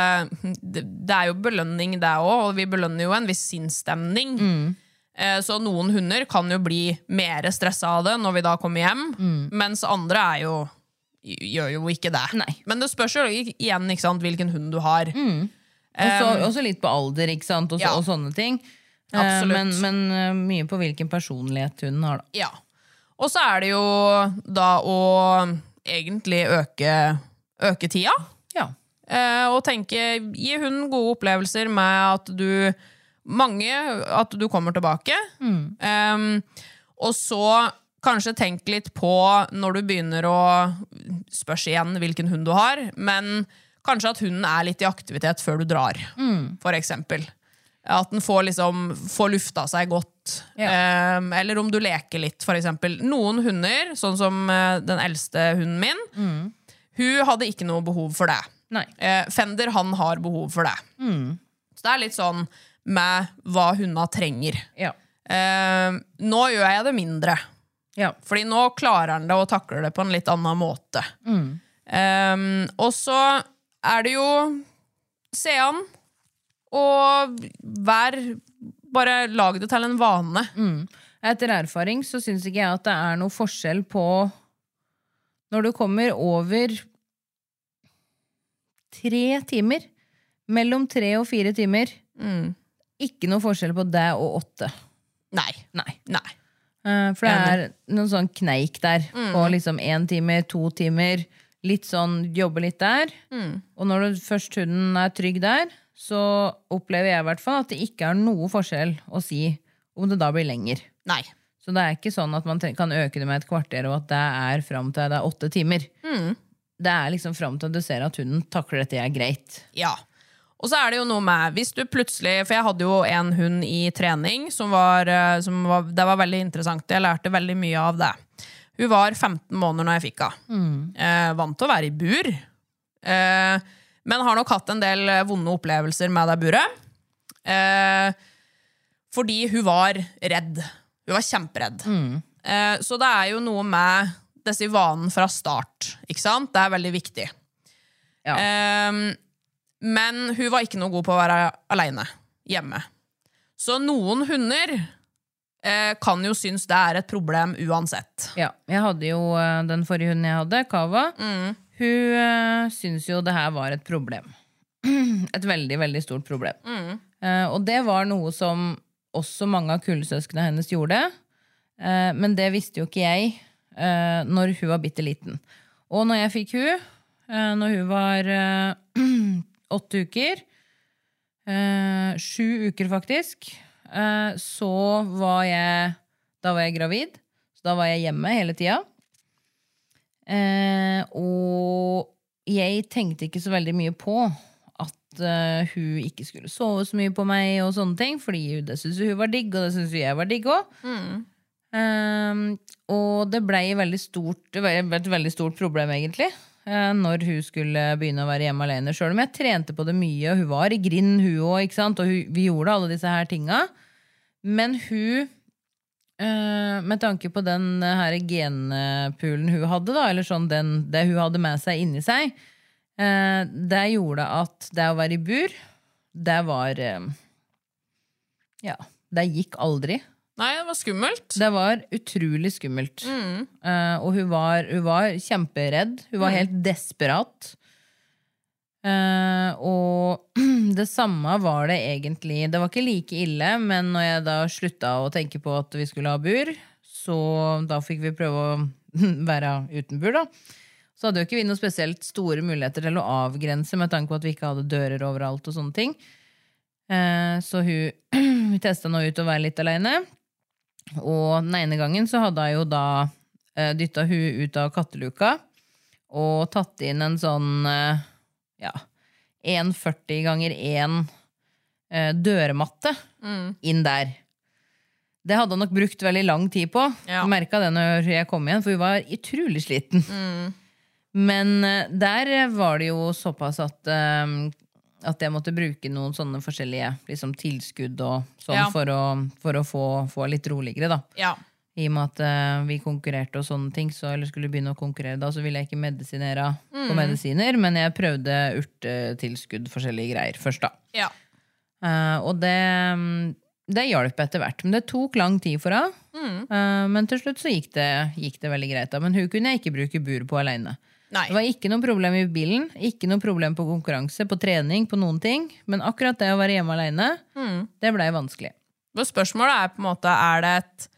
Speaker 1: Det, det er jo belønning, det òg, og vi belønner jo en viss sinnsstemning. Eh, Så noen hunder kan jo bli mer stressa av det når vi da kommer hjem, mens andre er jo gjør jo ikke det.
Speaker 2: Nei.
Speaker 1: Men det spørs jo igjen ikke sant, hvilken hund du har.
Speaker 2: Og så- også litt på alder ikke sant? Og, så-
Speaker 1: Ja.
Speaker 2: og sånne ting. Eh,
Speaker 1: Absolutt.
Speaker 2: Men, men eh, mye på hvilken personlighet hunden har. Da.
Speaker 1: Ja. Og så er det jo da å egentlig øke, øke tida.
Speaker 2: Ja.
Speaker 1: Eh, og tenke Gi hunden gode opplevelser med at du Mange At du kommer tilbake. Em, og så kanskje tenk litt på når du begynner å Spørs igjen hvilken hund du har, men kanskje at hunden er litt i aktivitet før du drar, for eksempel. At den får, liksom, får lufta seg godt. Em, eller om du leker litt, for eksempel. Noen hunder, sånn som eh, den eldste hunden min, hun hadde ikke noe behov for det.
Speaker 2: Nei. Mm.
Speaker 1: Eh, Fender han har behov for det. Så det er litt sånn med hva hundene trenger.
Speaker 2: Ja.
Speaker 1: Eh, nå gjør jeg det mindre,
Speaker 2: Ja.
Speaker 1: Fordi nå klarer han det og takler det på en litt annen måte.
Speaker 2: Mm.
Speaker 1: Eh, og så er det jo se an og vær Bare lag det til en vane.
Speaker 2: Mm. Etter erfaring så syns ikke jeg at det er noe forskjell på Når du kommer over tre timer, mellom tre og fire timer Mm. Ikke noe forskjell på det og åtte.
Speaker 1: Nei.
Speaker 2: Nei.
Speaker 1: Nei.
Speaker 2: Eh, For det er noen sånn kneik der på liksom én time, to timer. Litt sånn jobbe litt der. Og når du først hunden er trygg der, så opplever jeg i hvert fall at det ikke er noe forskjell å si om det da blir lenger.
Speaker 1: Nei.
Speaker 2: Så det er ikke sånn at man tre- kan øke det med et kvarter, og at det er fram til det er åtte timer. Det er liksom fram til du ser at hunden takler dette er greit.
Speaker 1: Ja. Og så er det jo noe med Hvis du plutselig For jeg hadde jo en hund i trening som var, eh, som var Det var veldig interessant. Jeg lærte veldig mye av det. Hun var 15 måneder når jeg fikk henne. Eh, vant til å være i bur. Eh, men har nok hatt en del eh, vonde opplevelser med det buret. Eh, fordi hun var redd. Hun var kjemperedd. Eh, så det er jo noe med disse vanene fra start. Ikke sant? Det er veldig viktig.
Speaker 2: Ja.
Speaker 1: Ehm, men hun var ikke noe god på å være aleine hjemme. Så noen hunder eh, kan jo synes det er et problem uansett.
Speaker 2: Ja, jeg hadde jo eh, den forrige hunden jeg hadde, Kava. Hun uh, syntes jo det her var et problem. et veldig, veldig stort problem. Eh, og det var noe som også mange av kullsøsknene hennes gjorde. Eh, men det visste jo ikke jeg uh, når hun var bitte liten. Og når jeg fikk hun, eh, når hun var eh, åtte uker, eh, sju uker faktisk, eh, så var jeg Da var jeg gravid, så da var jeg hjemme hele tida. Eh, og jeg tenkte ikke så veldig mye på at eh, hun ikke skulle sove så mye på meg, og sånne ting, fordi hun- det syntes jo hun var digg, og det syntes jo jeg var digg òg. Ehm, og det blei veldig stort, det ble et veldig stort problem, egentlig. eh, Når hun skulle begynne å være hjemme alene. Sjøl om jeg trente på det mye, og hun var i grind, hun òg. ikke sant? Og hun, vi gjorde alle disse her tinga. Men hun Eh, med tanke på den eh, her genpoolen hun hadde, da, eller sånn den, det hun hadde med seg inni seg, eh, det gjorde at det å være i bur, det var eh, Ja, det gikk aldri.
Speaker 1: Nei, det var skummelt.
Speaker 2: Det var utrolig skummelt. Eh, og hun var, hun var kjemperedd. Hun var helt desperat. Eh, og det samme var det egentlig. Det var ikke like ille, men når jeg da slutta å tenke på at vi skulle ha bur, så da fikk vi prøve å være uten bur, da. Så hadde jo ikke vi noen spesielt store muligheter til å avgrense med tanke på at vi ikke hadde dører overalt og sånne ting. Eh, så hun testa nå ut å være litt aleine. Og den ene gangen så hadde jeg jo da eh, dytta hun ut av katteluka og tatt inn en sånn eh, ja, 1,40 ganger 1 eh, dørmatte inn der. Det hadde han nok brukt veldig lang tid på.
Speaker 1: Ja.
Speaker 2: Ja. Merka det når jeg kom igjen, for hun var utrolig sliten. Men eh, der var det jo såpass at, eh, at jeg måtte bruke noen sånne forskjellige liksom, tilskudd og sånn
Speaker 1: Ja.
Speaker 2: for å, for å få, få litt roligere, da.
Speaker 1: Ja.
Speaker 2: I og med at eh, vi konkurrerte og sånne ting, så, eller skulle begynne å konkurrere da, så ville jeg ikke medisinere på medisiner, men jeg prøvde urtetilskudd, forskjellige greier, først da.
Speaker 1: ja.
Speaker 2: Eh, og det, det hjalp etter hvert, men det tok lang tid for henne. Eh, men til slutt så gikk det, gikk det veldig greit. Da. Men hun kunne jeg ikke bruke bur på aleine.
Speaker 1: Nei.
Speaker 2: Det var ikke noe problem i bilen, ikke noe problem på konkurranse, på trening, på noen ting. Men akkurat det å være hjemme aleine, det blei vanskelig.
Speaker 1: For spørsmålet er på en måte er det, et,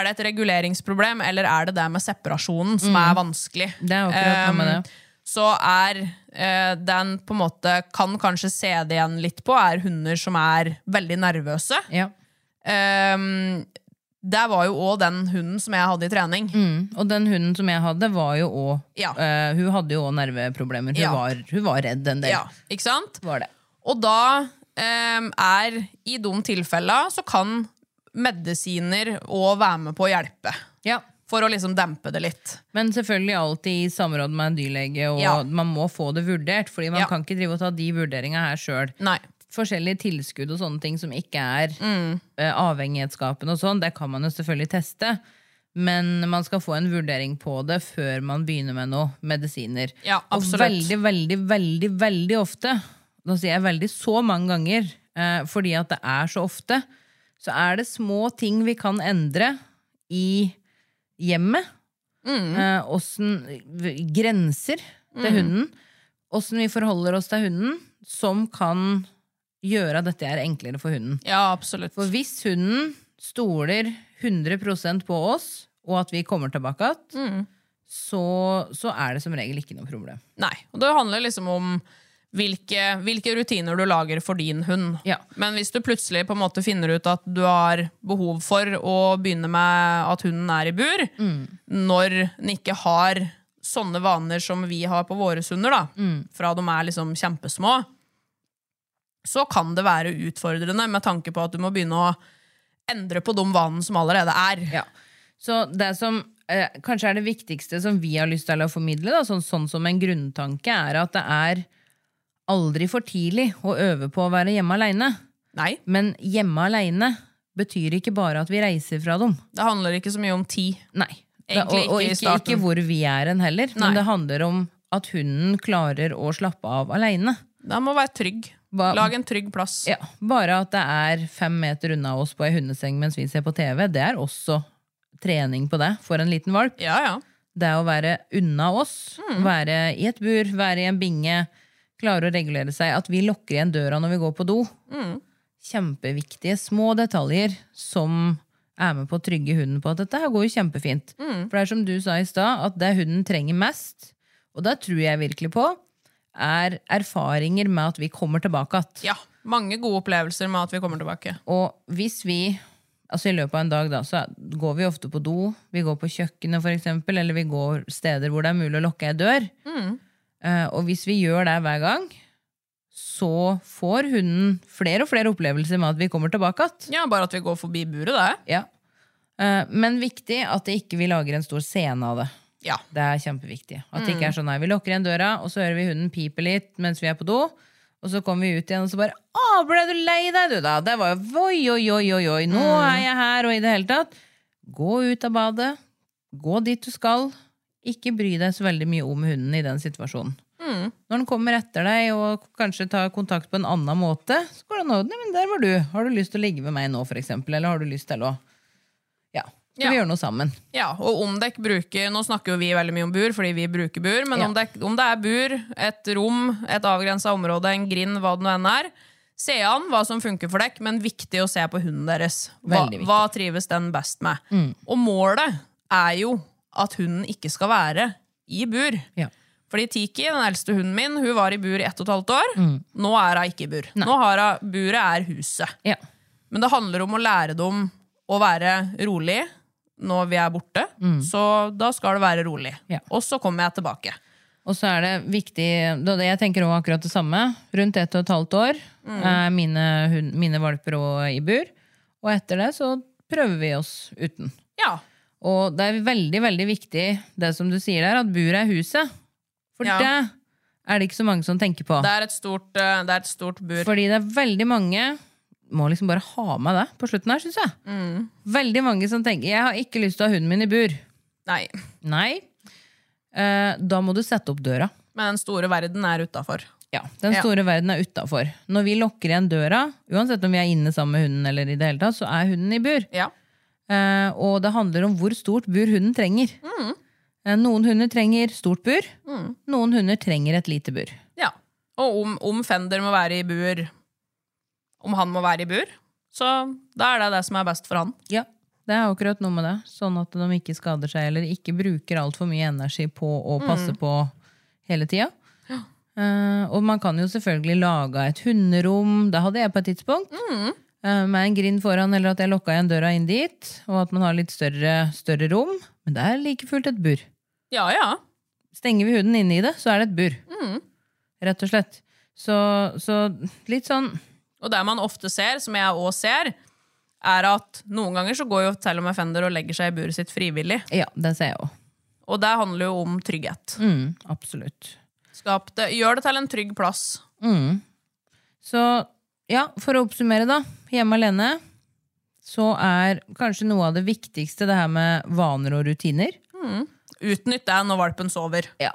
Speaker 1: er det et reguleringsproblem, eller er det det med separasjonen som er vanskelig?
Speaker 2: Mm. Det er akkurat noe med
Speaker 1: Ehm,
Speaker 2: det.
Speaker 1: Så er eh, den på en måte Kan kanskje se det igjen litt på, er hunder som er veldig nervøse.
Speaker 2: Ja.
Speaker 1: Ehm, der var jo òg den hunden som jeg hadde i trening.
Speaker 2: Mm. Og den hunden som jeg hadde, var jo også,
Speaker 1: Ja.
Speaker 2: eh, hun hadde jo òg nerveproblemer. Hun,
Speaker 1: Ja.
Speaker 2: var, hun var redd en del.
Speaker 1: Ja, ikke sant?
Speaker 2: Var det.
Speaker 1: Og da em, er I de tilfellene så kan medisiner òg være med på å hjelpe.
Speaker 2: Ja.
Speaker 1: For å liksom dempe det litt.
Speaker 2: Men selvfølgelig alltid i samråd med en dyrlege, og
Speaker 1: Ja.
Speaker 2: man må få det vurdert. Fordi man
Speaker 1: Ja.
Speaker 2: kan ikke drive og ta de vurderingene her sjøl.
Speaker 1: Nei.
Speaker 2: Forskjellige tilskudd og sånne ting som ikke er eh, avhengighetsskapende og sånn, det kan man jo selvfølgelig teste. Men man skal få en vurdering på det før man begynner med noe medisiner.
Speaker 1: Ja,
Speaker 2: og
Speaker 1: absolutt.
Speaker 2: veldig, veldig, veldig, veldig ofte, nå sier jeg veldig så mange ganger, eh, fordi at det er så ofte, så er det små ting vi kan endre i hjemmet.
Speaker 1: Mm.
Speaker 2: Eh, åssen v- grenser til hunden. Åssen vi forholder oss til hunden, som kan gjøre at dette er enklere for hunden.
Speaker 1: Ja, absolutt.
Speaker 2: For hvis hunden stoler 100 på oss, og at vi kommer tilbake igjen,
Speaker 1: Mm.
Speaker 2: så, så er det som regel ikke noe problem.
Speaker 1: Nei. Og det handler liksom om hvilke, hvilke rutiner du lager for din hund.
Speaker 2: Ja.
Speaker 1: Men hvis du plutselig på en måte finner ut at du har behov for å begynne med at hunden er i bur,
Speaker 2: Mm.
Speaker 1: når den ikke har sånne vaner som vi har på våre hunder, da,
Speaker 2: Mm.
Speaker 1: fra de er liksom kjempesmå, så kan det være utfordrende med tanke på at du må begynne å endre på de vanene som allerede er.
Speaker 2: Ja. Så det som eh, kanskje er det viktigste som vi har lyst til å formidle, da, sånn, sånn som en grunntanke, er at det er aldri for tidlig å øve på å være hjemme aleine.
Speaker 1: Nei,
Speaker 2: Men hjemme aleine betyr ikke bare at vi reiser fra dem.
Speaker 1: det handler ikke så mye om tid.
Speaker 2: Nei. Det, og,
Speaker 1: Egentlig
Speaker 2: og
Speaker 1: ikke i
Speaker 2: ikke,
Speaker 1: starten.
Speaker 2: ikke hvor vi er hen heller,
Speaker 1: Nei.
Speaker 2: men det handler om at hunden klarer å slappe av aleine.
Speaker 1: Den må være trygg.
Speaker 2: Hva-
Speaker 1: Lag en trygg plass.
Speaker 2: Ja, bare at det er fem meter unna oss på ei hundeseng mens vi ser på TV, det er også trening på det for en liten valp.
Speaker 1: Ja, Mm. ja.
Speaker 2: Det å være unna oss, være i et bur, være i en binge, klare å regulere seg, at vi lukker igjen døra når vi går på do.
Speaker 1: Mm.
Speaker 2: Kjempeviktige små detaljer som er med på å trygge hunden på at dette her går jo kjempefint.
Speaker 1: Mm.
Speaker 2: For det er som du sa i stad, at det hunden trenger mest, og det tror jeg virkelig på, er erfaringer med at vi kommer tilbake igjen.
Speaker 1: Ja, mange gode opplevelser med at vi kommer tilbake.
Speaker 2: Og hvis vi Altså I løpet av en dag da, så går vi ofte på do, vi går på kjøkkenet for eksempel, eller vi går steder hvor det er mulig å lukke ei dør. Eh, og hvis vi gjør det hver gang, så får hunden flere og flere opplevelser med at vi kommer tilbake igjen.
Speaker 1: Ja, Bare at vi går forbi buret, det.
Speaker 2: Ja. Eh, men viktig at det ikke vi lager en stor scene av det.
Speaker 1: Ja.
Speaker 2: Det er kjempeviktig. At det ikke er sånn nei, vi lukker igjen døra, og så hører vi hunden pipe litt mens vi er på do. Og så kommer vi ut igjen, og så bare Å, ble du lei deg, du, da? Det var jo oi, oi, oi, oi, oi, nå er jeg her, og i det hele tatt. Gå ut av badet. Gå dit du skal. Ikke bry deg så veldig mye om hunden i den situasjonen. Når den kommer etter deg og kanskje tar kontakt på en annen måte, så går det an å «Nei, men der var du. Har du lyst til å ligge med meg nå, for eksempel? Eller har du lyst til å Ja. Skal vi
Speaker 1: Ja.
Speaker 2: gjøre noe sammen?
Speaker 1: Ja, Og om dere bruker Nå snakker jo vi veldig mye om bur, fordi vi bruker bur, men
Speaker 2: Ja.
Speaker 1: om, dere- om det er bur, et rom, et avgrensa område, en grind, hva det nå enn er, se an hva som funker for dere, men viktig å se på hunden deres. Hva,
Speaker 2: Veldig viktig.
Speaker 1: hva trives den best med? Og målet er jo at hunden ikke skal være i bur.
Speaker 2: Ja.
Speaker 1: Fordi Tiki, den eldste hunden min, hun var i bur i ett og et halvt år. Nå er hun ikke i bur. Nå har hun, Buret er huset.
Speaker 2: Ja.
Speaker 1: Men det handler om å lære dem å være rolig når vi er borte. Så da skal det være rolig.
Speaker 2: Ja.
Speaker 1: Og så kommer jeg tilbake.
Speaker 2: Og så er det viktig da det- Jeg tenker også akkurat det samme. Rundt ett og et halvt år
Speaker 1: Mm.
Speaker 2: er mine, hund- mine valper òg i bur. Og etter det så prøver vi oss uten.
Speaker 1: Ja.
Speaker 2: Og det er veldig veldig viktig det som du sier der, at buret er huset. For
Speaker 1: Ja.
Speaker 2: det er det ikke så mange som tenker på.
Speaker 1: Det er et stort, eh, det er et stort bur.
Speaker 2: Fordi det er veldig mange Må liksom bare ha med det på slutten her, syns jeg.
Speaker 1: Mm.
Speaker 2: Veldig mange som tenker 'jeg har ikke lyst til å ha hunden min i bur'.
Speaker 1: Nei.
Speaker 2: Nei. Eh, da må du sette opp døra.
Speaker 1: Men den store verden er utafor.
Speaker 2: Ja, Den
Speaker 1: Ja.
Speaker 2: store verden er utafor. Når vi lukker igjen døra, uansett om vi er inne sammen med hunden, eller i det hele tatt, så er hunden i bur.
Speaker 1: Ja.
Speaker 2: Eh, og det handler om hvor stort bur hunden trenger. Eh, noen hunder trenger stort bur, noen hunder trenger et lite bur.
Speaker 1: ja. Og om, om Fender må være i bur, om han må være i bur, så da er det det som er best for han.
Speaker 2: Ja, det er akkurat noe med det. Sånn at de ikke skader seg eller ikke bruker altfor mye energi på å passe på hele tida. Eh, og man kan jo selvfølgelig lage et hunderom. Det hadde jeg på et tidspunkt. Eh, med en grind foran, eller at jeg lokka igjen døra inn dit. Og at man har litt større, større rom. Men det er like fullt et bur.
Speaker 1: Ja, ja.
Speaker 2: Stenger vi huden inne i det, så er det et bur. Rett og slett. Så, så litt sånn
Speaker 1: Og det man ofte ser, som jeg òg ser, er at noen ganger så går jo til og med Fender og legger seg i buret sitt frivillig.
Speaker 2: Ja, det ser jeg òg.
Speaker 1: Og det handler jo om trygghet.
Speaker 2: Mm, absolutt.
Speaker 1: Skap det, gjør det til en trygg plass.
Speaker 2: Så ja, for å oppsummere da, hjemme alene, så er kanskje noe av det viktigste det her med vaner og rutiner.
Speaker 1: Utnytt det når valpen sover.
Speaker 2: Ja.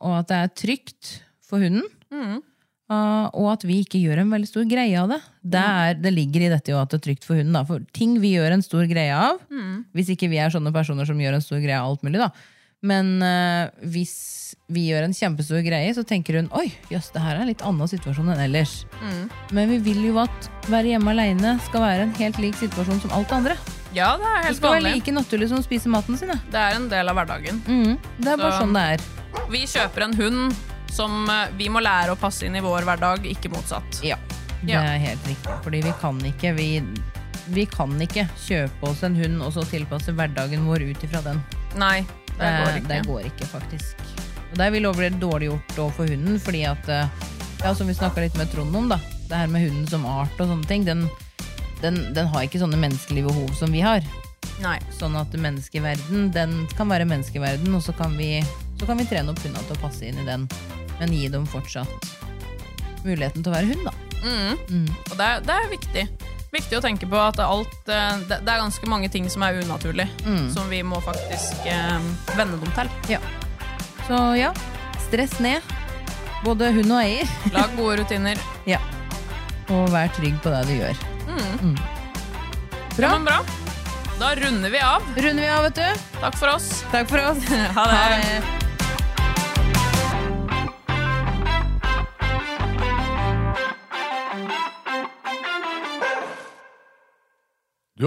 Speaker 2: Og at det er trygt for hunden.
Speaker 1: Mm.
Speaker 2: Ah, og at vi ikke gjør en veldig stor greie av det. Det,
Speaker 1: Mm.
Speaker 2: er, det ligger i dette jo at det er trygt for hunden. Da. For ting vi gjør en stor greie av,
Speaker 1: Mm.
Speaker 2: hvis ikke vi er sånne personer som gjør en stor greie av alt mulig, da. Men eh, hvis vi gjør en kjempestor greie, så tenker hun oi, jøss, det her er en litt annen situasjon enn ellers.
Speaker 1: Mm.
Speaker 2: Men vi vil jo at være hjemme aleine skal være en helt lik situasjon som alt det andre.
Speaker 1: Ja, det er
Speaker 2: Det
Speaker 1: helt
Speaker 2: skal være
Speaker 1: vanlig.
Speaker 2: like naturlig som å spise maten sin. da.
Speaker 1: Det er en del av hverdagen.
Speaker 2: Det er bare
Speaker 1: Mm. Så-
Speaker 2: sånn det er.
Speaker 1: Vi kjøper en hund som eh, vi må lære å passe inn i vår hverdag, ikke motsatt.
Speaker 2: Ja, det
Speaker 1: Ja.
Speaker 2: er helt riktig. Fordi vi kan ikke vi, vi kan ikke kjøpe oss en hund og så tilpasse hverdagen vår ut ifra den.
Speaker 1: Nei, det går
Speaker 2: Eh,
Speaker 1: ikke.
Speaker 2: Det går ikke, faktisk. Og der vil bli dårlig gjort overfor hunden, fordi at eh, Ja, som vi snakka litt med Trond om, da. Det her med hunden som art og sånne ting, den, den, den har ikke sånne menneskelige behov som vi har.
Speaker 1: Nei.
Speaker 2: Sånn at menneskeverden, den kan være menneskeverden, og så kan vi, så kan vi trene opp hundene til å passe inn i den, men gi dem fortsatt muligheten til å være hund, da.
Speaker 1: Og det, er- det er viktig. Viktig å tenke på at alt eh, Det, det er ganske mange ting som er unaturlig,
Speaker 2: Mm.
Speaker 1: som vi må faktisk eh, venne dem til.
Speaker 2: Ja. Så ja, stress ned. Både hund og eier.
Speaker 1: Lag gode rutiner.
Speaker 2: Ja. Og vær trygg på det du gjør. Mm. Bra.
Speaker 1: Men bra. Da runder vi av.
Speaker 2: Runder vi av, vet du.
Speaker 1: Takk for oss.
Speaker 2: Takk for oss.
Speaker 1: Ha det.
Speaker 2: Ha det.
Speaker 3: Du